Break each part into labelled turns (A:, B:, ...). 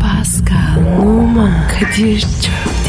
A: Pascal, Oman, Kadir çok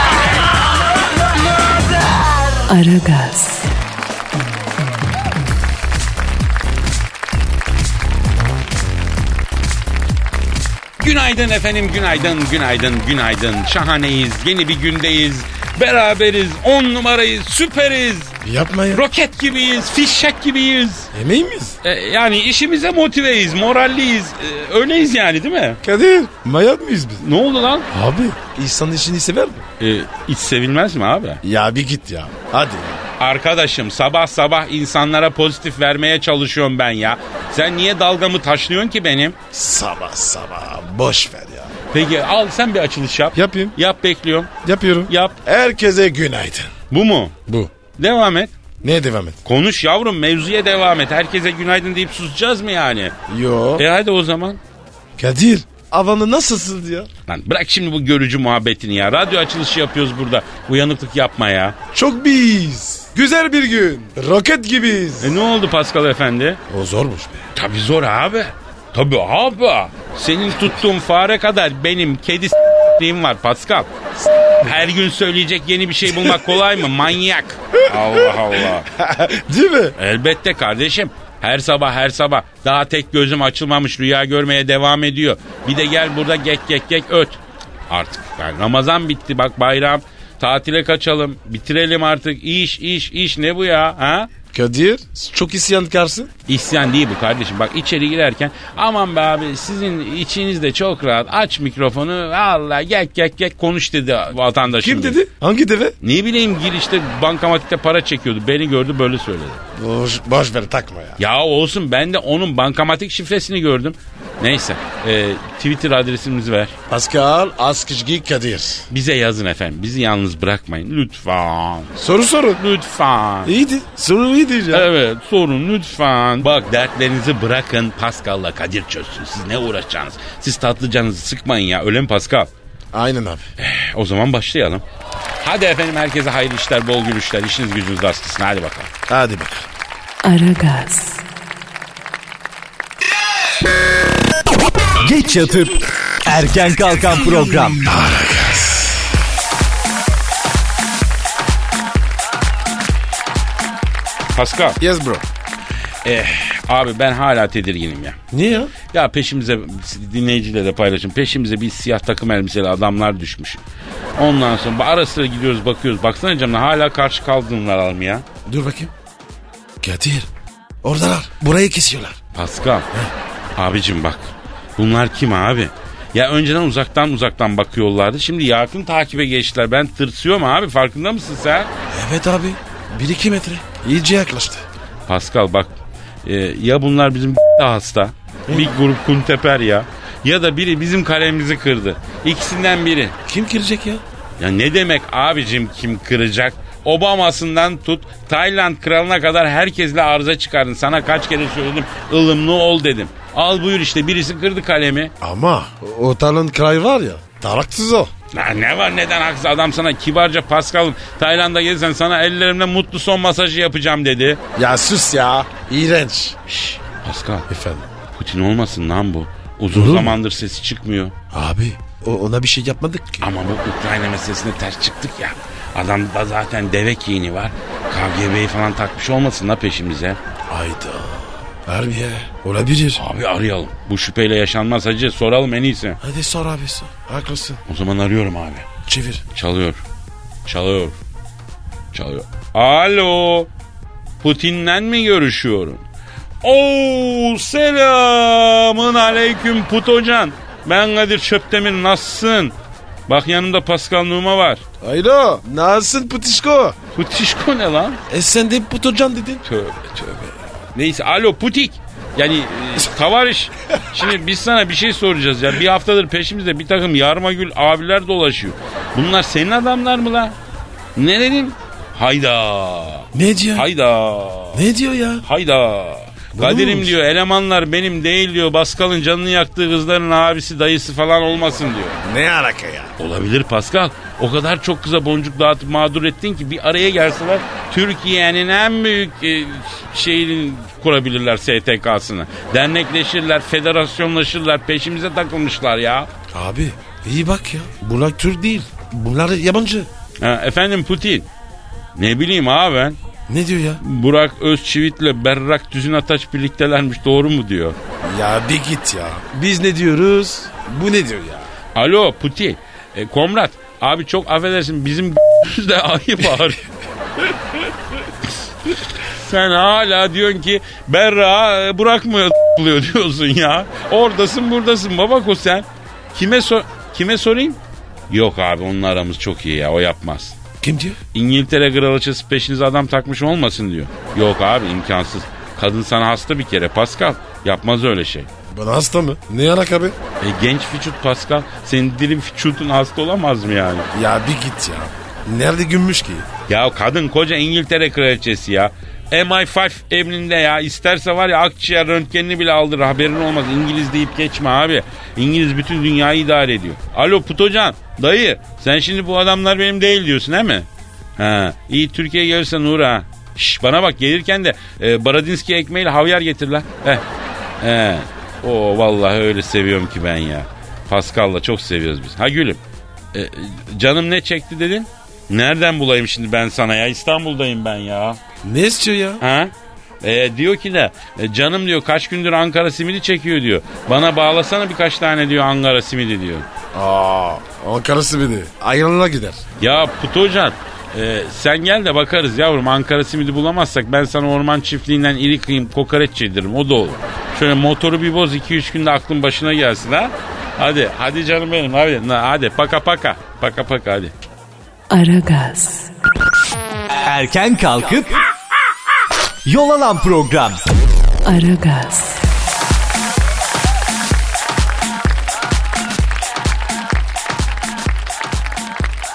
A: Aragaz,
B: Günaydın efendim, günaydın, günaydın, günaydın. Şahaneyiz, yeni bir gündeyiz. Beraberiz, on numarayız, süperiz.
C: Yapma ya.
B: Roket gibiyiz, fişek gibiyiz.
C: Emeği miyiz?
B: E, yani işimize motiveyiz, moralliyiz. E, öyleyiz yani değil mi?
C: Kadir. Mayat mıyız biz?
B: Ne oldu lan?
C: Abi. İnsan işini sever mi?
B: E, iç sevilmez mi abi?
C: Ya bir git ya. Hadi.
B: Arkadaşım sabah sabah insanlara pozitif vermeye çalışıyorum ben ya. Sen niye dalgamı taşlıyorsun ki benim?
C: Sabah sabah. Boş ver ya.
B: Peki al sen bir açılış yap.
C: Yapayım.
B: Yap bekliyorum.
C: Yapıyorum.
B: Yap.
C: Herkese günaydın.
B: Bu mu?
C: Bu.
B: Devam et.
C: Ne devam et?
B: Konuş yavrum mevzuya devam et. Herkese günaydın deyip susacağız mı yani?
C: Yo.
B: E hadi o zaman.
C: Kadir. Havanı nasılsın ya?
B: Lan bırak şimdi bu görücü muhabbetini ya. Radyo açılışı yapıyoruz burada. Uyanıklık yapma ya.
C: Çok biz. Güzel bir gün. Roket gibiyiz.
B: E ne oldu Pascal efendi?
C: O zormuş be.
B: Tabi zor abi. Tabi abi. Senin tuttuğun fare kadar benim kedi s**liğim var Pascal. Her gün söyleyecek yeni bir şey bulmak kolay mı? Manyak. Allah Allah.
C: Değil mi?
B: Elbette kardeşim. Her sabah her sabah daha tek gözüm açılmamış rüya görmeye devam ediyor. Bir de gel burada gek gek gek öt. Artık yani Ramazan bitti bak bayram. Tatile kaçalım. Bitirelim artık. İş iş iş ne bu ya? Ha?
C: Kadir. Çok isyankarsın.
B: İsyan değil bu kardeşim. Bak içeri girerken aman be abi sizin içiniz de çok rahat. Aç mikrofonu. Allah gek gek gek konuş dedi vatandaşım.
C: Kim dedi? Hangi deve?
B: Ne bileyim girişte bankamatikte para çekiyordu. Beni gördü böyle söyledi.
C: Boş, boş ver takma ya.
B: Ya olsun ben de onun bankamatik şifresini gördüm. Neyse e, Twitter adresimizi ver.
C: Pascal Askışgi Kadir.
B: Bize yazın efendim. Bizi yalnız bırakmayın lütfen.
C: Soru sorun.
B: Lütfen.
C: İyiydi. Soru iyiydi ya.
B: Evet sorun lütfen. Bak dertlerinizi bırakın Pascal'la Kadir çözsün. Siz ne uğraşacaksınız? Siz tatlı canınızı sıkmayın ya. Öyle mi Pascal?
C: Aynen abi.
B: Eh, O zaman başlayalım. Hadi efendim herkese hayırlı işler, bol gülüşler, işiniz gücünüz rast Hadi bakalım.
C: Hadi bakalım.
A: Aragaz,
D: Geç yatıp erken kalkan program.
B: Pascal,
C: Yes bro.
B: eh, abi ben hala tedirginim ya.
C: Niye ya?
B: Ya peşimize dinleyicilere paylaşın. Peşimize bir siyah takım elbiseli adamlar düşmüş. Ondan sonra ara sıra gidiyoruz bakıyoruz. Baksana camdan hala karşı kaldırımlar alım ya.
C: Dur bakayım. Kadir. Oradalar. Burayı kesiyorlar.
B: Pascal. Abicim bak. Bunlar kim abi? Ya önceden uzaktan uzaktan bakıyorlardı. Şimdi yakın takibe geçtiler. Ben tırsıyorum abi. Farkında mısın sen?
C: Evet abi. 1-2 metre. İyice yaklaştı.
B: Pascal bak. e, ya bunlar bizim hasta. Bir grup kunteper ya. Ya da biri bizim kalemizi kırdı. İkisinden biri.
C: Kim girecek ya?
B: Ya ne demek abicim kim kıracak? Obama'sından tut Tayland kralına kadar herkesle arıza çıkarın. Sana kaç kere söyledim ılımlı ol dedim. Al buyur işte birisi kırdı kalemi.
C: Ama o- o talon kray var ya. Taraksız o.
B: Ya ne var neden haksız adam sana kibarca Pascal'ım Tayland'a gelirsen sana ellerimle mutlu son masajı yapacağım dedi.
C: Ya sus ya. İğrenç.
B: Şşş Pascal
C: Efendim.
B: Putin olmasın lan bu. Uzun
C: Olur mu?
B: zamandır sesi çıkmıyor.
C: Abi o- ona bir şey yapmadık ki.
B: Ama bu Ukrayna meselesine ters çıktık ya. Adamda zaten deve kiyini var. KGB'yi falan takmış olmasın la peşimize.
C: Hayda. Harbi ya. Olabilir.
B: Abi arayalım. Bu şüpheyle yaşanmaz hacı. Soralım en iyisi.
C: Hadi sor abi sor. Haklısın.
B: O zaman arıyorum abi.
C: Çevir.
B: Çalıyor. Çalıyor. Çalıyor. Alo. Putin'le mi görüşüyorum? Oo selamın aleyküm Putocan. Ben Kadir Çöptemir nasılsın? Bak yanımda Pascal Numa var.
C: Alo. Nasılsın Putişko?
B: Putişko ne lan?
C: E sen de Putocan dedin.
B: Tövbe tövbe. Neyse alo Putik. Yani e, kavarış. Şimdi biz sana bir şey soracağız ya. Bir haftadır peşimizde bir takım yarmagül abiler dolaşıyor. Bunlar senin adamlar mı la? Ne dedin? Hayda.
C: Ne diyor?
B: Hayda.
C: Ne diyor ya?
B: Hayda. Kadir'im
C: olmuş?
B: diyor elemanlar benim değil diyor. Baskal'ın canını yaktığı kızların abisi dayısı falan olmasın diyor.
C: Ne alaka ya?
B: Olabilir Pascal. O kadar çok kıza boncuk dağıtıp mağdur ettin ki bir araya gelseler Türkiye'nin en büyük e, şeyini kurabilirler STK'sını. Dernekleşirler, federasyonlaşırlar, peşimize takılmışlar ya.
C: Abi iyi bak ya. Bunlar Türk değil. Bunlar yabancı.
B: Ha, efendim Putin. Ne bileyim abi ben.
C: Ne diyor ya?
B: Burak Özçivit'le Berrak Düzün Ataç birliktelermiş doğru mu diyor.
C: Ya bir git ya. Biz ne diyoruz? Bu ne diyor ya?
B: Alo Putin. E, Komrat. Abi çok affedersin bizim de ayıp ağır. Sen hala diyorsun ki Berra e, bırakmıyor ***lıyor diyorsun ya. Oradasın buradasın babako sen. Kime sor kime sorayım? Yok abi onun aramız çok iyi ya o yapmaz.
C: Kim diyor?
B: İngiltere kraliçesi peşinize adam takmış olmasın diyor. Yok abi imkansız. Kadın sana hasta bir kere Pascal. Yapmaz öyle şey.
C: Bana hasta mı? Ne alaka be?
B: E, genç fiçut Pascal. Senin dilim fiçutun hasta olamaz mı yani?
C: Ya bir git ya. Nerede gümüş ki?
B: Ya kadın koca İngiltere kraliçesi ya. MI5 emrinde ya. İsterse var ya akciğer röntgenini bile aldırır. Haberin olmaz. İngiliz deyip geçme abi. İngiliz bütün dünyayı idare ediyor. Alo Putocan. Dayı. Sen şimdi bu adamlar benim değil diyorsun değil mi? Ha, iyi Türkiye'ye gelirse Nur ha. Şş, bana bak gelirken de e, Baradinski ekmeğiyle havyar getir lan. Heh. He. O vallahi öyle seviyorum ki ben ya. Pascal'la çok seviyoruz biz. Ha gülüm. E, e, canım ne çekti dedin? Nereden bulayım şimdi ben sana ya? İstanbul'dayım ben ya.
C: Ne istiyor ya?
B: Ha? E, diyor ki de e, canım diyor kaç gündür Ankara simidi çekiyor diyor. Bana bağlasana birkaç tane diyor Ankara simidi diyor.
C: Aa, Ankara simidi. Ayranına gider.
B: Ya Putocan e, sen gel de bakarız yavrum Ankara simidi bulamazsak ben sana orman çiftliğinden iri kıyım kokoreç yediririm o da olur. Şöyle motoru bir boz 2-3 günde aklın başına gelsin ha. Hadi hadi canım benim hadi Na, hadi paka paka paka paka hadi.
A: Aragaz,
D: Erken kalkıp yol alan program.
A: Aragaz,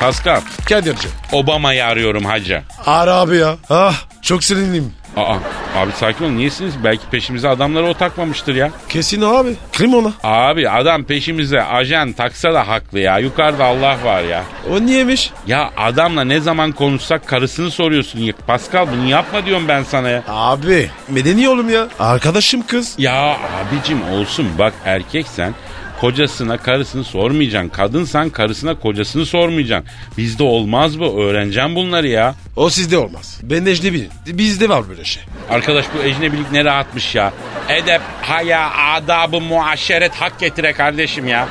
B: Pascal
C: Kadir'ci.
B: Obama'yı arıyorum hacı.
C: Ara abi ya. Ah çok sinirliyim.
B: Aa abi sakin ol niyesiniz belki peşimize adamları o takmamıştır ya.
C: Kesin o abi. Krim ona.
B: Abi adam peşimize ajan taksa da haklı ya yukarıda Allah var ya.
C: O niyemiş?
B: Ya adamla ne zaman konuşsak karısını soruyorsun. Ya Pascal bunu yapma diyorum ben sana ya.
C: Abi medeni oğlum ya. Arkadaşım kız.
B: Ya abicim olsun bak erkeksen kocasına karısını sormayacaksın. Kadınsan karısına kocasını sormayacaksın. Bizde olmaz bu öğreneceğim bunları ya.
C: O sizde olmaz. Ben Necdebiyim. Bizde var böyle şey.
B: Arkadaş bu ecnebilik ne rahatmış ya. Edep, haya, adabı, muaşeret hak getire kardeşim ya.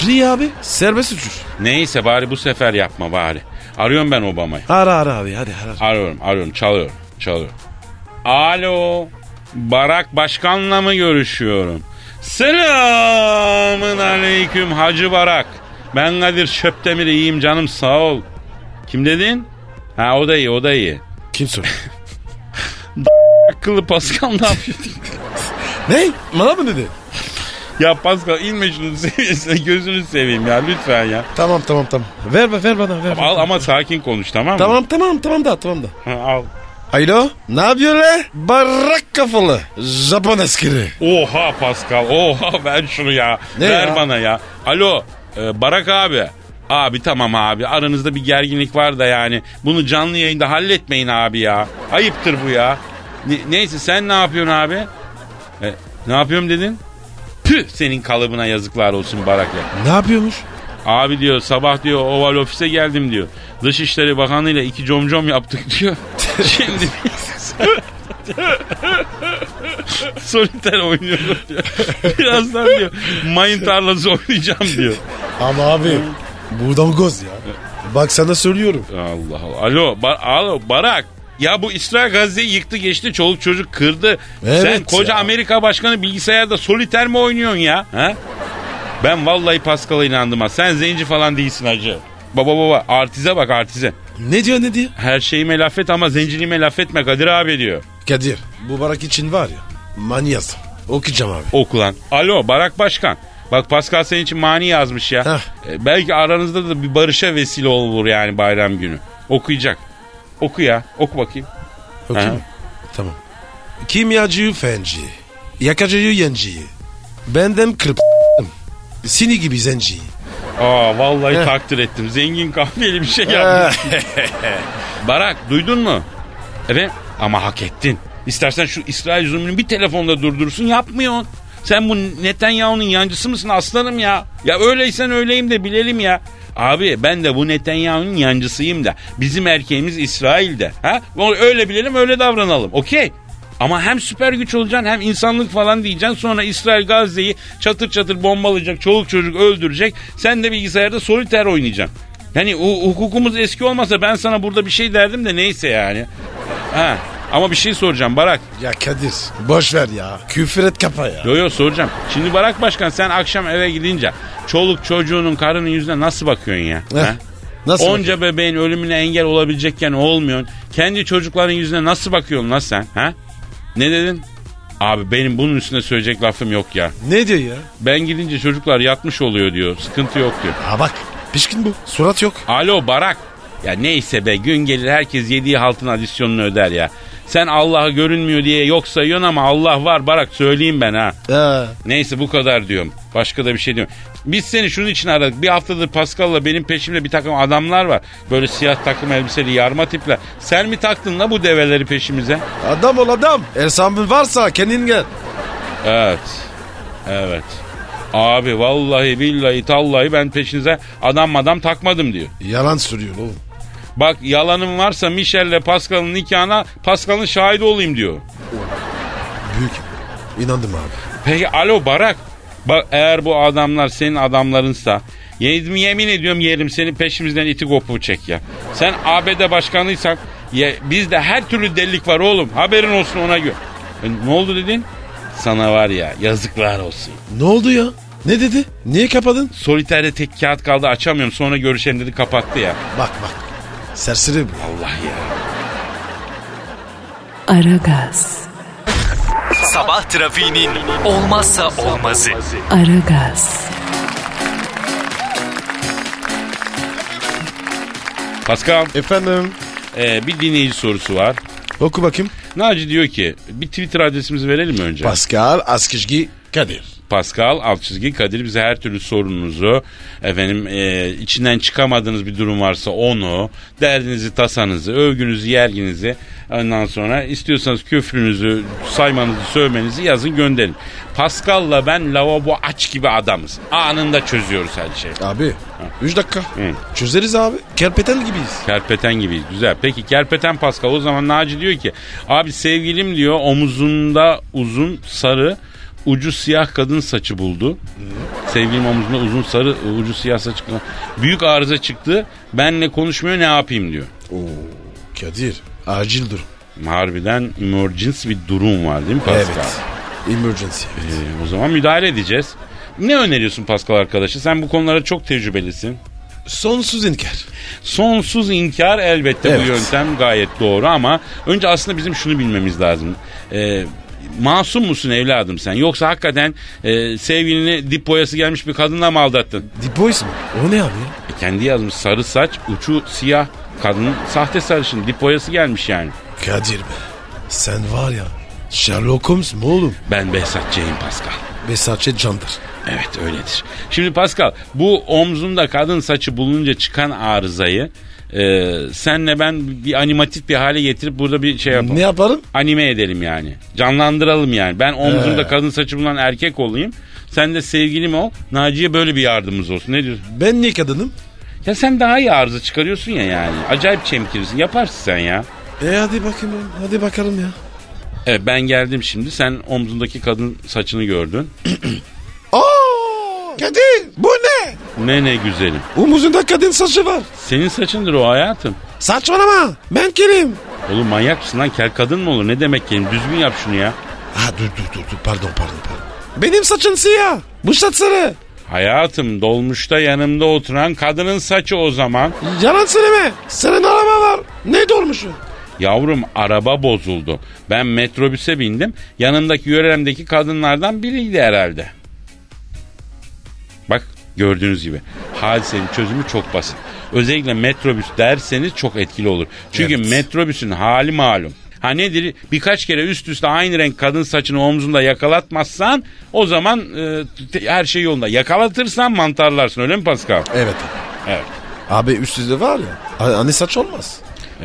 C: Free abi. Serbest uçuş.
B: Neyse bari bu sefer yapma bari. Arıyorum ben Obama'yı.
C: Ara ara abi hadi ara.
B: Arıyorum arıyorum çalıyorum çalıyorum. Alo Barak Başkan'la mı görüşüyorum? Selamın aleyküm Hacı Barak. Ben Kadir Çöptemir iyiyim canım sağ ol. Kim dedin? Ha o da iyi o da iyi.
C: Kim soruyor?
B: Akıllı Pascal ne yapıyor?
C: ne? Bana mı dedi?
B: ya Pascal inme şunun seviyesine gözünü seveyim ya lütfen ya.
C: Tamam tamam tamam. Ver ver, ver bana ver.
B: Al ama sakin konuş tamam mı?
C: Tamam tamam tamam da tamam da.
B: Ha, al.
C: Alo ne yapıyor le? Barak kafalı. Japon askeri.
B: Oha Pascal oha ver şunu ya.
C: Ne
B: ver
C: ya?
B: bana ya. Alo e, Barak abi. Abi tamam abi aranızda bir gerginlik var da yani bunu canlı yayında halletmeyin abi ya. Ayıptır bu ya. Ne- neyse sen ne yapıyorsun abi? E, ne yapıyorum dedin? Püh senin kalıbına yazıklar olsun Barak ya.
C: Ne yapıyormuş?
B: Abi diyor sabah diyor oval ofise geldim diyor. Dışişleri Bakanı ile iki comcom yaptık diyor. Şimdi soliter oynuyorum diyor. Birazdan diyor mayın tarlası oynayacağım diyor.
C: Ama abi buradan goz ya. Hmm. Bak sana söylüyorum.
B: Allah Allah. Alo, ba- alo Barak. Ya bu İsrail Gazze'yi yıktı geçti çoluk çocuk kırdı.
C: Evet
B: Sen koca
C: ya.
B: Amerika Başkanı bilgisayarda soliter mi oynuyorsun ya? Ha? Ben vallahi Pascal'a inandım ha. Sen zenci falan değilsin hacı. Baba baba artize bak artize.
C: Ne diyor ne diyor?
B: Her şeyime laf et ama zenciliğime laf etme Kadir abi diyor.
C: Kadir bu barak için var ya. Manyaz. Okuyacağım abi.
B: Okulan. Alo Barak Başkan. Bak Pascal senin için mani yazmış ya.
C: Heh.
B: E, belki aranızda da bir barışa vesile olur yani bayram günü. Okuyacak. Oku ya. Oku bakayım.
C: Okuyayım
B: Ha.
C: mı? Tamam. Kimyacı fenci, yakacı yenciyi, benden kırp sini gibi zenciyi.
B: Aa vallahi
C: Heh.
B: takdir ettim. Zengin kahveli bir şey yapmış. Barak duydun mu? Evet ama hak ettin. İstersen şu İsrail zulmünü bir telefonda durdursun yapmıyorsun. Sen bu Netanyahu'nun yancısı mısın aslanım ya? Ya öyleysen öyleyim de bilelim ya. Abi ben de bu Netanyahu'nun yancısıyım da. Bizim erkeğimiz İsrail'de. Ha? Öyle bilelim öyle davranalım. Okey. Ama hem süper güç olacaksın hem insanlık falan diyeceksin. Sonra İsrail Gazze'yi çatır çatır bombalayacak. Çoluk çocuk öldürecek. Sen de bilgisayarda soliter oynayacaksın. Yani o, hukukumuz eski olmasa ben sana burada bir şey derdim de neyse yani. Ha. Ama bir şey soracağım Barak.
C: Ya Kadir boş ver ya. Küfür et kapa ya.
B: Yo yo soracağım. Şimdi Barak Başkan sen akşam eve gidince çoluk çocuğunun karının yüzüne nasıl bakıyorsun ya?
C: Heh,
B: Ha?
C: Nasıl?
B: Onca bebeğin ölümüne engel olabilecekken olmuyorsun. Kendi çocukların yüzüne nasıl bakıyorsun lan sen? Ha? Ne dedin? Abi benim bunun üstüne söyleyecek lafım yok ya.
C: Ne diyor ya?
B: Ben gidince çocuklar yatmış oluyor diyor. Sıkıntı yok diyor.
C: Ha bak pişkin bu. Surat yok.
B: Alo Barak. Ya neyse be gün gelir herkes yediği haltın adisyonunu öder ya. Sen Allah'a görünmüyor diye yok sayıyorsun ama Allah var Barak söyleyeyim ben ha.
C: Ha.
B: Neyse bu kadar diyorum. Başka da bir şey diyorum. Biz seni şunun için aradık. Bir haftadır Pascal'la benim peşimde bir takım adamlar var. Böyle siyah takım elbiseli yarma tipler. Sen mi taktın la bu develeri peşimize?
C: Adam ol adam. Ersamın varsa kendin gel.
B: Evet. Evet. Abi vallahi billahi tallahi ben peşinize adam madam takmadım diyor.
C: Yalan sürüyor oğlum.
B: Bak yalanım varsa Michelle'le Pascal'ın nikahına Pascal'ın şahidi olayım diyor.
C: Büyük. İnandım abi.
B: Peki alo Barak. Bak eğer bu adamlar senin adamlarınsa yemin, yemin ediyorum yerim seni peşimizden iti kopuğu çek ya. Sen ABD başkanıysan ya, bizde her türlü delilik var oğlum. Haberin olsun ona göre. E, ne oldu dedin? Sana var ya yazıklar olsun.
C: Ne oldu ya? Ne dedi? Niye kapadın?
B: Soliter'de tek kağıt kaldı açamıyorum sonra görüşelim dedi kapattı ya.
C: Bak bak. Serseri bu.
B: Allah ya.
A: Aragaz,
D: Sabah trafiğinin olmazsa olmazı.
A: Aragaz,
B: Pascal
C: Efendim.
B: e, bir dinleyici sorusu var.
C: Oku bakayım.
B: Naci diyor ki bir Twitter adresimizi verelim mi önce?
C: Pascal Askışgi Kadir.
B: Pascal alt çizgi Kadir bize her türlü sorunuzu efendim e, içinden çıkamadığınız bir durum varsa onu derdinizi tasanızı övgünüzü yerginizi ondan sonra istiyorsanız küfrünüzü saymanızı sövmenizi yazın gönderin. Pascal'la ben lavabo aç gibi adamız. Anında çözüyoruz her şeyi.
C: Abi 3 dakika.
B: Hı.
C: Çözeriz abi. Kerpeten gibiyiz.
B: Kerpeten gibiyiz güzel. Peki kerpeten Pascal o zaman Naci diyor ki abi sevgilim diyor omuzunda uzun sarı ucu siyah kadın saçı buldu. Sevgilim omuzunda uzun sarı ucu siyah saç büyük arıza çıktı. Benle konuşmuyor ne yapayım diyor.
C: Kadir acil durum.
B: Harbiden emergency bir durum var değil mi Pascal?
C: Evet. Emergency.
B: Ee, o zaman müdahale edeceğiz. Ne öneriyorsun Pascal arkadaşı? Sen bu konulara çok tecrübelisin.
C: Sonsuz inkar.
B: Sonsuz inkar elbette bu
C: Evet.
B: yöntem gayet doğru ama önce aslında bizim şunu bilmemiz lazım. Ee, masum musun evladım sen yoksa hakikaten e, sevgilini dip boyası gelmiş bir kadınla mı aldattın?
C: Deep Boys mu? O ne abi ya?
B: E, kendi yazmış sarı saç uçu siyah kadın sahte sarışın dip boyası gelmiş yani.
C: Kadir be. Sen var ya. Sherlock Holmes mu oğlum?
B: Ben Behzatçıyım Pascal.
C: Besaçet Candır.
B: Evet öyledir. Şimdi Pascal bu omzunda kadın saçı bulunca çıkan arızayı e, senle ben bir animatif bir hale getirip burada bir şey yapalım.
C: Ne yaparım?
B: anime edelim yani. Canlandıralım yani. Ben omzumda
C: He.
B: kadın saçı bulunan erkek olayım. Sen de sevgilim ol. Naciye böyle bir yardımımız olsun. Ne diyorsun?
C: Ben niye kadınım?
B: Ya sen daha iyi arıza çıkarıyorsun ya yani. Acayip çemkirirsin. Yaparsın sen ya.
C: E hadi bakayım oğlum, Hadi bakalım ya.
B: Evet ben geldim şimdi. Sen omzundaki kadın saçını gördün.
C: Oo! Kadir bu ne?
B: Ne ne güzelim.
C: Omuzunda kadın saçı var.
B: Senin saçındır o hayatım.
C: Saçmalama. Ben kerim.
B: Oğlum manyak mısın lan? Kel kadın mı olur? Ne demek kelim? Düzgün yap şunu ya.
C: Ha dur dur dur. dur. Pardon pardon pardon. Benim saçım siyah. Bu saç sarı.
B: Hayatım dolmuşta yanımda oturan kadının saçı o zaman.
C: Yalan söyleme. Senin araba var. Ne dolmuşu?
B: Yavrum araba bozuldu. Ben metrobüse bindim. Yanımdaki yöremdeki kadınlardan biriydi herhalde. Gördüğünüz gibi hadisenin çözümü çok basit. Özellikle metrobüs derseniz çok etkili olur. Çünkü
C: Evet.
B: metrobüsün hali malum. Ha nedir? Birkaç kere üst üste aynı renk kadın saçını omzunda yakalatmazsan o zaman e, te- her şey yolunda. Yakalatırsan mantarlarsın öyle mi Pascal?
C: Evet abi.
B: Evet.
C: Abi üst üste var ya. a- Anne saç olmaz.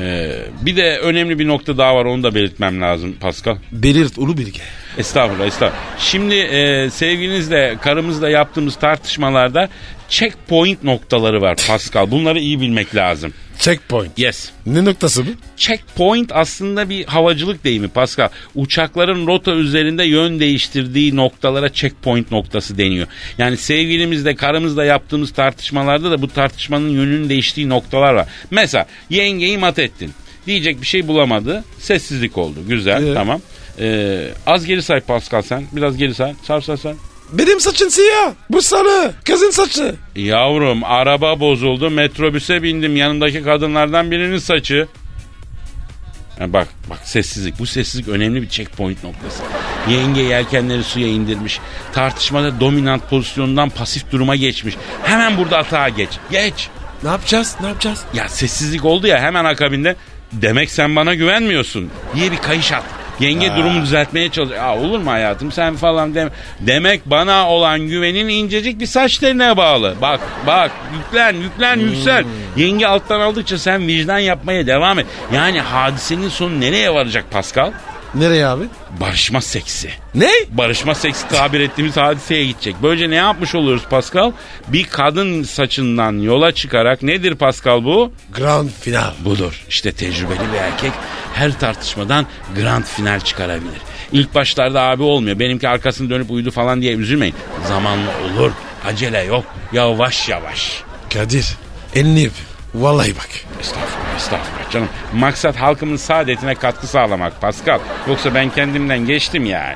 B: Ee, bir de önemli bir nokta daha var onu da belirtmem lazım Pascal.
C: Belirt ulu bilge.
B: Estağfurullah estağfurullah. Şimdi e, sevgilinizle karımızla yaptığımız tartışmalarda checkpoint noktaları var Pascal. Bunları iyi bilmek lazım.
C: Checkpoint.
B: Yes.
C: Ne noktası bu?
B: Checkpoint aslında bir havacılık deyimi Pascal. Uçakların rota üzerinde yön değiştirdiği noktalara checkpoint noktası deniyor. Yani sevgilimizle karımızla yaptığımız tartışmalarda da bu tartışmanın yönünün değiştiği noktalar var. Mesela yengeyi mat ettin. Diyecek bir şey bulamadı. Sessizlik oldu. Güzel
C: Ee?
B: tamam. Ee, az geri say Pascal sen. Biraz geri say. Sar sar sar.
C: Benim saçın siyah. Bu sarı. Kızın saçı.
B: Yavrum araba bozuldu metrobüse bindim yanımdaki kadınlardan birinin saçı. Ha, bak bak sessizlik bu sessizlik önemli bir checkpoint noktası. Yenge yelkenleri suya indirmiş. Tartışmada dominant pozisyondan pasif duruma geçmiş. Hemen burada atağa geç. Geç.
C: Ne yapacağız? Ne yapacağız?
B: Ya sessizlik oldu ya hemen akabinde demek sen bana güvenmiyorsun diye bir kayış at. Yenge durumu düzeltmeye çalışıyor. Aa, olur mu hayatım sen falan deme. Demek bana olan güvenin incecik bir saç teline bağlı. Bak bak yüklen yüklen yüksel. Yenge alttan aldıkça sen vicdan yapmaya devam et. Yani hadisenin sonu nereye varacak Pascal?
C: Nereye abi?
B: Barışma seksi
C: Ne?
B: barışma seksi tabir ettiğimiz hadiseye gidecek. Böylece ne yapmış oluyoruz Pascal? Bir kadın saçından yola çıkarak nedir Pascal bu?
C: Grand final.
B: Budur. İşte tecrübeli bir erkek her tartışmadan grand final çıkarabilir. İlk başlarda abi olmuyor. Benimki arkasını dönüp uyudu falan diye üzülmeyin. Zamanla olur. Acele yok. Yavaş yavaş.
C: Kadir. Elini öp. Vallahi bak.
B: Estağfurullah, estağfurullah canım. Maksat halkımın saadetine katkı sağlamak Pascal. Yoksa ben kendimden geçtim yani.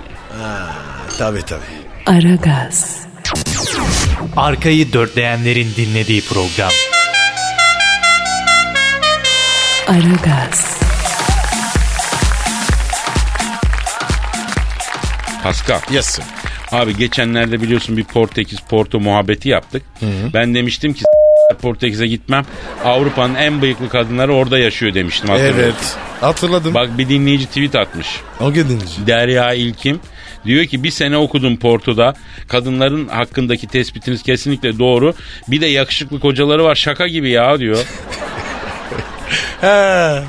C: Tabii tabii.
A: Aragaz,
D: Arkayı dörtleyenlerin dinlediği program.
A: Aragaz,
B: Pascal.
C: Yes sir.
B: Abi geçenlerde biliyorsun bir Portekiz Porto muhabbeti yaptık. Ben demiştim ki "S- Portekiz'e gitmem. Avrupa'nın en bıyıklı kadınları orada yaşıyor demiştim. hatırlıyor musun?
C: Evet. Hatırladım.
B: Bak bir dinleyici tweet atmış.
C: O gidince.
B: Derya İlkim. Diyor ki bir sene okudum Porto'da. Kadınların hakkındaki tespitiniz kesinlikle doğru. Bir de yakışıklı kocaları var şaka gibi ya diyor.
C: He.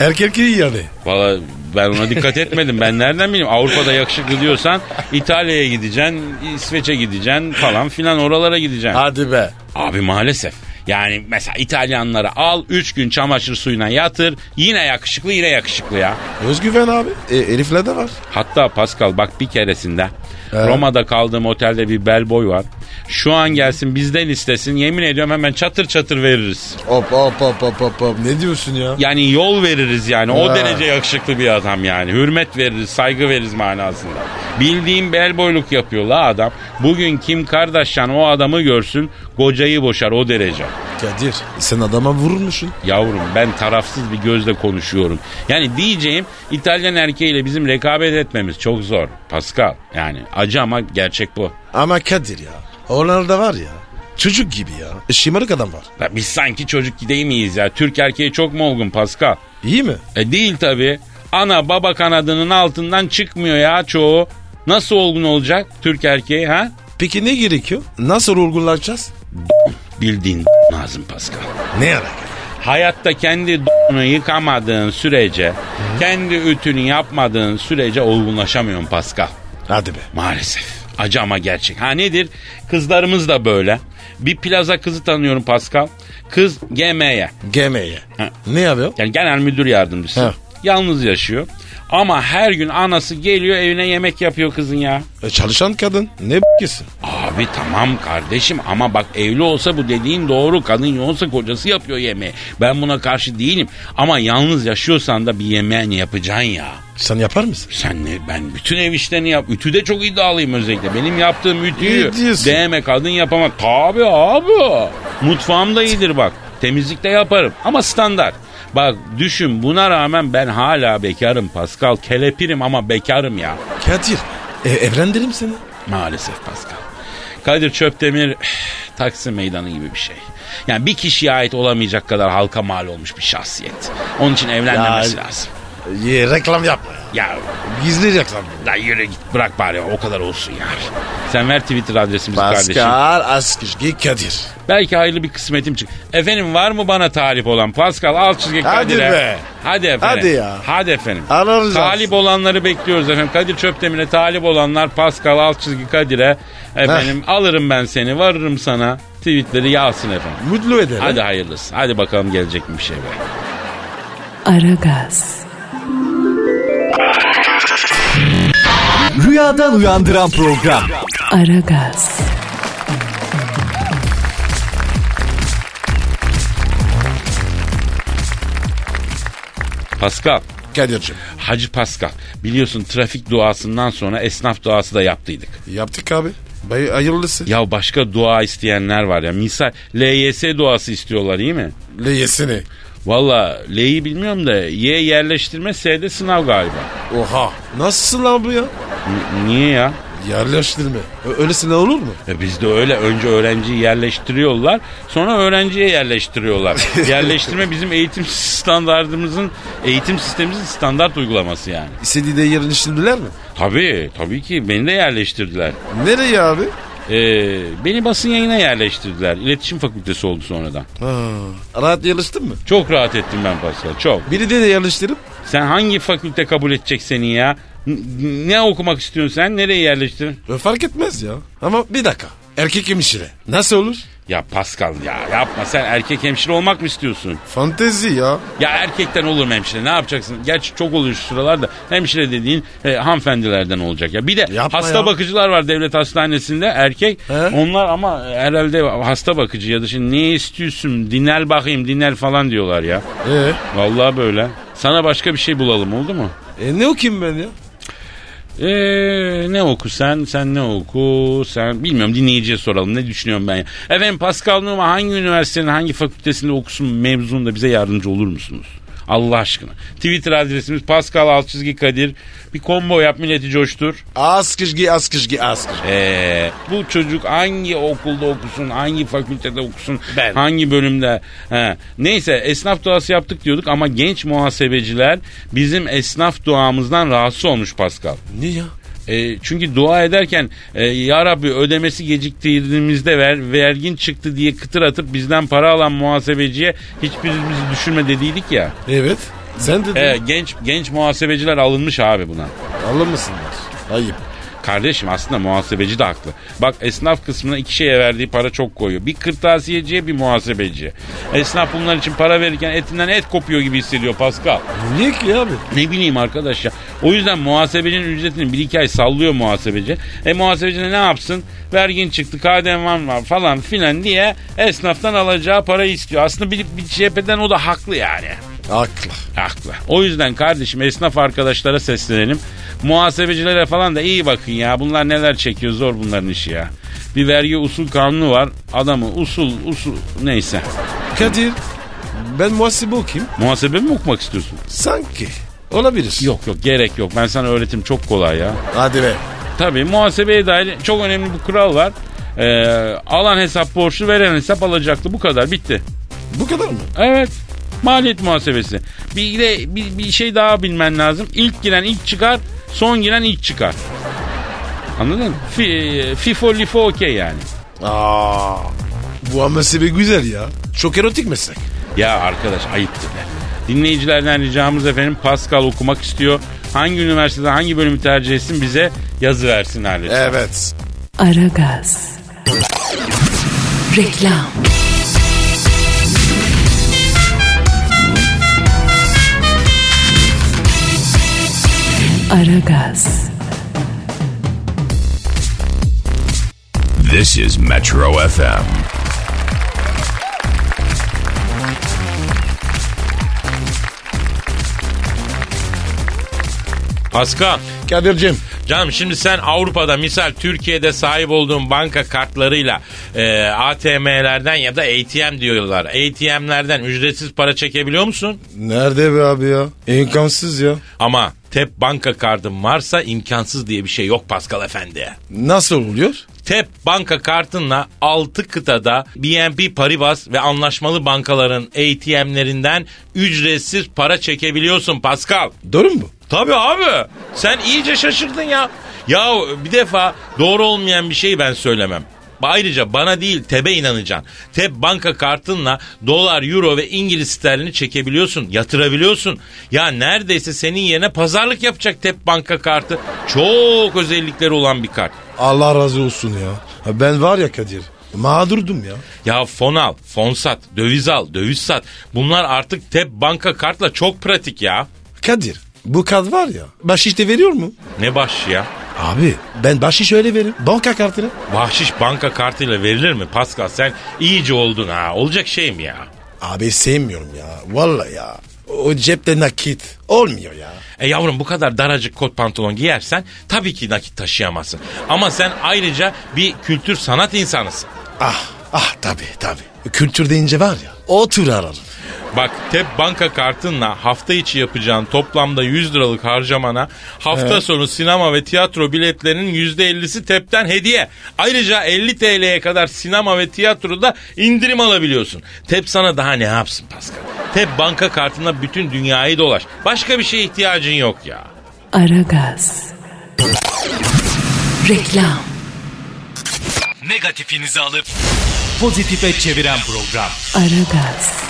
C: Erkek iyi yani.
B: Valla ben ona dikkat etmedim. Ben nereden bileyim? Avrupa'da yakışıklı diyorsan İtalya'ya gideceksin, İsveç'e gideceksin falan filan oralara gideceksin.
C: Hadi be.
B: Abi maalesef. Yani mesela İtalyanları al 3 gün çamaşır suyuna yatır yine yakışıklı yine yakışıklı ya.
C: Özgüven abi. E, Elif'le de var.
B: Hatta Pascal bak bir keresinde Roma'da kaldığım otelde bir bellboy var. Şu an gelsin bizden istesin yemin ediyorum hemen çatır çatır veririz.
C: Hop hop hop hop hop. hop. Ne diyorsun ya?
B: Yani yol veririz yani o
C: Ha.
B: derece yakışıklı bir adam yani. Hürmet veririz saygı veririz manasında. Bildiğim bellboyluk yapıyor la adam. Bugün Kim Kardashian o adamı görsün kocayı boşar o derece.
C: Kadir. Sen adama vurulmuşsun.
B: Yavrum ben tarafsız bir gözle konuşuyorum. Yani diyeceğim İtalyan erkeğiyle bizim rekabet etmemiz çok zor. Pascal yani acı ama gerçek bu.
C: Ama Kadir ya. Onlar da var ya. Çocuk gibi ya. E, Şımarık adam var.
B: Ya biz sanki çocuk gidey miyiz ya? Türk erkeği çok mu olgun Pascal?
C: İyi mi?
B: E değil tabi. Ana baba kanadının altından çıkmıyor ya çoğu. Nasıl olgun olacak Türk erkeği ha?
C: Peki ne gerekiyor? Nasıl olgunlaşacağız?
B: Bildiğin lazım Pascal.
C: Ne yarak?
B: Hayatta kendi d***unu yıkamadığın sürece, kendi ütünü yapmadığın sürece olgunlaşamıyorsun Pascal.
C: Hadi be.
B: Maalesef. Acı ama gerçek. Ha nedir? Kızlarımız da böyle. Bir plaza kızı tanıyorum Pascal. Kız GM'ye.
C: GM'ye.
B: Ha.
C: Ne yapıyor?
B: Yani genel müdür yardımcısı.
C: Ha.
B: Yalnız yaşıyor. Ama her gün anası geliyor evine yemek yapıyor kızın ya.
C: E, çalışan kadın. Ne b***sin?
B: Abi tamam kardeşim ama bak evli olsa bu dediğin doğru. Kadın yoğunsa kocası yapıyor yemeği. Ben buna karşı değilim. Ama yalnız yaşıyorsan da bir yemeğini yapacaksın ya.
C: Sen yapar mısın?
B: Sen ne ben bütün ev işlerini yap. Ütüde çok iddialıyım özellikle. Benim yaptığım ütüyü
C: Ne diyorsun?
B: DM kadın yapamaz. Tabi abi. Mutfağım da iyidir bak. Temizlikte yaparım ama standart. Bak düşün buna rağmen ben hala bekarım Pascal. Kelepirim ama bekarım ya.
C: Kadir. E, evlendirim seni.
B: Maalesef Pascal. Kadir Çöptemir Taksim Meydanı gibi bir şey. Yani bir kişiye ait olamayacak kadar halka mal olmuş bir şahsiyet. Onun için evlenmemesi
C: Ya-
B: lazım.
C: Ye, reklam yapma ya.
B: Ya
C: Gizli reklam.
B: la yürü git bırak bari o kadar olsun ya. Sen ver Twitter adresimizi kardeşim.
C: Pascal Askışki Kadir.
B: Belki hayırlı bir kısmetim çık. Efendim var mı bana talip olan? Pascal al çizgi
C: Hadi
B: Kadir'e.
C: be.
B: Hadi efendim.
C: Hadi ya.
B: Hadi efendim.
C: Ararız
B: Talip
C: aslında.
B: olanları bekliyoruz efendim. Kadir Çöptemir'e talip olanlar Pascal al çizgi Kadir'e. Efendim alırım ben seni varırım sana. Tweetleri yağsın efendim.
C: Mutlu eder.
B: Hadi hayırlısı. Hadi bakalım gelecek mi bir şey be.
A: Aragaz,
E: Rüyadan uyandıran program.
A: Aragaz,
B: Pascal.
C: Kadir'cim.
B: Hacı Pascal. Biliyorsun trafik duasından sonra esnaf duası da yaptıydık.
C: Yaptık abi. Bay hayırlısı.
B: Ya başka dua isteyenler var ya. Misal LYS duası istiyorlar iyi mi?
C: Le yesini.
B: Valla L'yi bilmiyorum da Y yerleştirme S'de sınav galiba.
C: Oha. Nasılsın lan bu ya?
B: N- niye ya?
C: Yerleştirme. Ö- öylesine olur mu?
B: E bizde öyle önce öğrenciyi yerleştiriyorlar sonra öğrenciye yerleştiriyorlar. Yerleştirme bizim eğitim standartımızın eğitim sistemimizin standart uygulaması yani.
C: İstediği de yerleştirdiler mi?
B: Tabii tabii ki beni de yerleştirdiler.
C: Nereye abi?
B: Ee, beni basın yayına yerleştirdiler. İletişim fakültesi oldu sonradan.
C: Ha, rahat yerleştin mi?
B: Çok rahat ettim ben Pascal çok.
C: Biri de yerleştirip
B: Sen hangi fakülte kabul edecek seni ya? N- ne okumak istiyorsun sen? Nereye yerleştirin?
C: Ö, fark etmez ya. Ama bir dakika. Erkek hemşire. Nasıl olur?
B: Ya Pascal ya yapma sen erkek hemşire olmak mı istiyorsun?
C: Fantezi ya.
B: Ya erkekten olur mu hemşire ne yapacaksın? Gerçi çok oluyor şu sıralarda hemşire dediğin e, hanımefendilerden olacak ya. Bir de
C: Yapma
B: hasta
C: ya.
B: bakıcılar var devlet hastanesinde erkek.
C: He?
B: Onlar ama herhalde hasta bakıcı ya da şimdi ne istiyorsun dinel bakayım dinel falan diyorlar ya.
C: Ee,
B: Vallahi böyle. Sana başka bir şey bulalım oldu mu?
C: e ne okuyayım ben ya?
B: Eee Ee, ne oku sen? Sen ne oku? Sen bilmiyorum dinleyiciye soralım. Ne düşünüyorum ben ya? Efendim Pascal Numa hangi üniversitenin hangi fakültesinde okusun mevzunda bize yardımcı olur musunuz? Allah aşkına. Twitter adresimiz Pascal Alçızgi Kadir. Bir combo yap milleti coştur.
C: Askışgi askışgi askışgi.
B: Ee, bu çocuk hangi okulda okusun, hangi fakültede okusun, hangi bölümde. He. Neyse esnaf duası yaptık diyorduk ama genç muhasebeciler bizim esnaf duamızdan rahatsız olmuş Pascal.
C: Niye ya?
B: E, çünkü dua ederken e, ya Rabbi ödemesi geciktirdiğimizde ver, vergin çıktı diye kıtır atıp bizden para alan muhasebeciye hiçbirimizi düşünme dediydik ya.
C: Evet. Sen dedin.
B: E, genç genç muhasebeciler alınmış abi buna.
C: Anlamasınlar. Ayıp.
B: Kardeşim aslında muhasebeci de haklı. Bak esnaf kısmına iki şeye verdiği para çok koyuyor. Bir kırtasiyeciye bir muhasebeciye. Esnaf bunlar için para verirken etinden et kopuyor gibi hissediyor Pascal.
C: Niye ki abi?
B: Ne bileyim arkadaş ya. O yüzden muhasebecinin ücretini bir iki ay sallıyor muhasebeci. E muhasebeci de ne yapsın? Vergin çıktı, KDV var falan filan diye esnaftan alacağı parayı istiyor. Aslında bir, bir cepheden o da haklı yani.
C: Haklı.
B: Haklı. O yüzden kardeşim esnaf arkadaşlara seslenelim. Muhasebecilere falan da iyi bakın ya. Bunlar neler çekiyor zor bunların işi ya. Bir vergi usul kanunu var. Adamı usul usul neyse.
C: Kadir ben muhasebe okuyayım.
B: Muhasebe mi okumak istiyorsun?
C: Sanki. Olabilir.
B: Yok yok gerek yok. Ben sana öğretim çok kolay ya.
C: Hadi be.
B: Tabii muhasebeye dair çok önemli bir kural var. Ee, alan hesap borçlu, veren hesap alacaklı. Bu kadar bitti.
C: Bu kadar mı?
B: Evet. Maliyet muhasebesi. Bir de bir, bir şey daha bilmen lazım. İlk giren ilk çıkar, son giren ilk çıkar. Anladın mı? Fi, e, FIFO LIFO okey yani.
C: Aa, bu muhasebe güzel ya. Çok erotik meslek.
B: Ya arkadaş ayıptır be. Dinleyicilerden ricamız efendim Pascal okumak istiyor. Hangi üniversitede hangi bölümü tercih etsin bize yazı versin halde.
C: Evet.
A: Aragaz. Reklam, Aragaz,
F: This is Metro FM.
B: Pascal.
C: Kadir'cim.
B: Canım şimdi sen Avrupa'da misal Türkiye'de sahip olduğun banka kartlarıyla e, ATM'lerden ya da ATM diyorlar. ATM'lerden ücretsiz para çekebiliyor musun?
C: Nerede be abi ya? İmkansız ya.
B: Ama tep banka kartın varsa imkansız diye bir şey yok Pascal Efendi.
C: Nasıl oluyor?
E: TEP banka kartınla 6 kıtada BNP Paribas ve anlaşmalı bankaların ATM'lerinden ücretsiz para çekebiliyorsun Pascal.
C: Doğru mu?
E: Tabii abi. Sen iyice şaşırdın ya. Ya bir defa doğru olmayan bir şeyi ben söylemem. Ayrıca bana değil TEB'e inanacaksın. TEB banka kartınla dolar, euro ve İngiliz sterlini çekebiliyorsun, yatırabiliyorsun. Ya neredeyse senin yerine pazarlık yapacak TEB banka kartı. Çok özellikleri olan bir kart.
C: Allah razı olsun ya. Ha, Ben var ya Kadir. Mağdurdum ya.
E: Ya fon al, fon sat, döviz al, döviz sat. Bunlar artık TEB banka kartla çok pratik ya.
C: Kadir bu kart var ya. Bahşiş de veriyor mu?
E: Ne baş ya?
C: Abi ben bahşiş öyle veririm. Banka kartını.
E: Bahşiş banka kartıyla verilir mi Pascal? Sen iyice oldun ha. Olacak şey mi ya?
C: Abi sevmiyorum ya. Vallahi ya. O cepte nakit olmuyor ya.
E: E yavrum bu kadar daracık kot pantolon giyersen tabii ki nakit taşıyamazsın. Ama sen ayrıca bir kültür sanat insanısın.
C: Ah ah tabi tabi. Kültür deyince var ya. Otur ararım.
E: Bak TEP banka kartınla hafta içi yapacağın toplamda 100 liralık harcamana hafta sonu sinema ve tiyatro biletlerinin %50'si TEP'ten hediye. Ayrıca 50 TL'ye kadar sinema ve tiyatroda indirim alabiliyorsun. TEP sana daha ne yapsın Pascal? TEP banka kartına bütün dünyayı dolaş. Başka bir şeye ihtiyacın yok ya.
A: Aragaz. Reklam.
D: Negatifinizi alıp pozitife çeviren program.
A: Aragaz.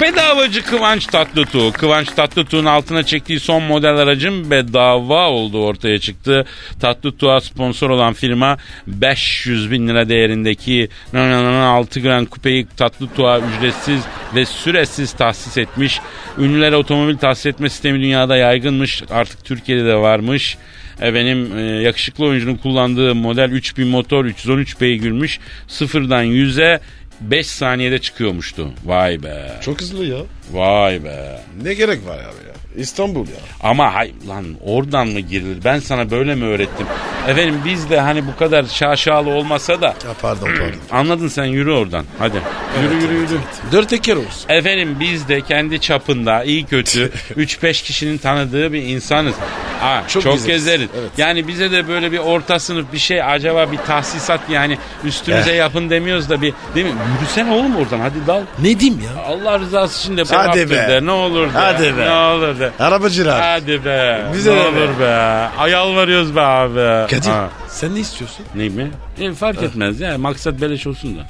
B: Bedavacı Kıvanç Tatlıtuğ. Kıvanç Tatlıtuğ'un altına çektiği son model aracın bedava olduğu ortaya çıktı. Tatlıtuğ'a sponsor olan firma 500 bin lira değerindeki 6 Grand Coupe'yi Tatlıtuğ'a ücretsiz ve süresiz tahsis etmiş. Ünlülere otomobil tahsis etme sistemi dünyada yaygınmış. Artık Türkiye'de de varmış. Efendim e, yakışıklı oyuncunun kullandığı model 3000 motor 313 beygirmiş. Sıfırdan 100'e 5 saniyede çıkıyormuştu. Vay be.
C: Çok hızlı ya.
B: Vay be.
C: Ne gerek var abi ya? İstanbul ya.
B: Ama hay lan oradan mı girilir? Ben sana böyle mi öğrettim? Efendim biz de hani bu kadar şaşalı olmasa da
C: Ya pardon pardon.
B: anladın sen yürü oradan. Hadi. Yürü yürü yürü.
C: Dört teker olsun.
B: Efendim biz de kendi çapında iyi kötü 3-5 kişinin tanıdığı bir insanız. Ha,
C: Çok
B: çok
C: gezeriz.
B: gezeriz.
C: Evet.
B: Yani bize de böyle bir orta sınıf bir şey acaba bir tahsisat yani üstümüze
C: Eh.
B: yapın demiyoruz da bir değil mi? Yürüsen oğlum oradan hadi dal.
C: Ne diyeyim ya?
B: Allah rızası için de
C: Hadi
B: sevaptır
C: be.
B: de ne olur de.
C: Hadi be.
B: Ne olur de.
C: Arabacılar.
B: Hadi be.
C: Bize
B: ne
C: de
B: olur be. Ayal varıyoruz be abi.
C: Kadir
B: Ha.
C: sen ne istiyorsun?
B: Ne mi? E, fark etmez ya. Maksat beleş olsun da.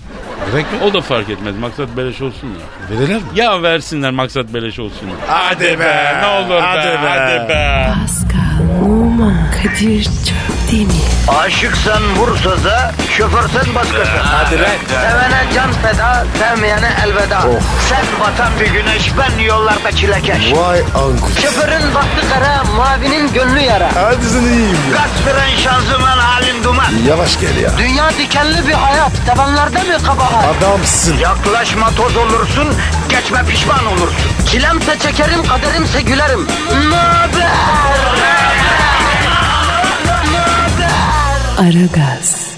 C: Gerek yok.
B: O da fark etmez. Maksat beleş olsun da.
C: Verirler mi?
B: Ya versinler maksat beleş olsun da.
C: Hadi be.
B: Ne olur
C: Hadi
B: be. Hadi be.
A: Pascal, Oman, Kadir çok değil mi?
G: Aşıksan vursa da, şoförsen başkasın.
C: Ee,
G: Hadi Sevene can feda, sevmeyene elveda.
C: Oh.
G: Sen batan bir güneş, ben yollarda çilekeş.
C: Vay anku.
G: Şoförün baktı kara, mavinin gönlü yara.
C: Hadi sen iyiyim ya.
G: Kasperen şanzıman halin duman.
C: Yavaş gel ya.
G: Dünya dikenli bir hayat, sevenlerde mi kabahar?
C: Adamsın.
G: Yaklaşma toz olursun, geçme pişman olursun. Çilemse çekerim, kaderimse gülerim. Möber!
A: Aragaz.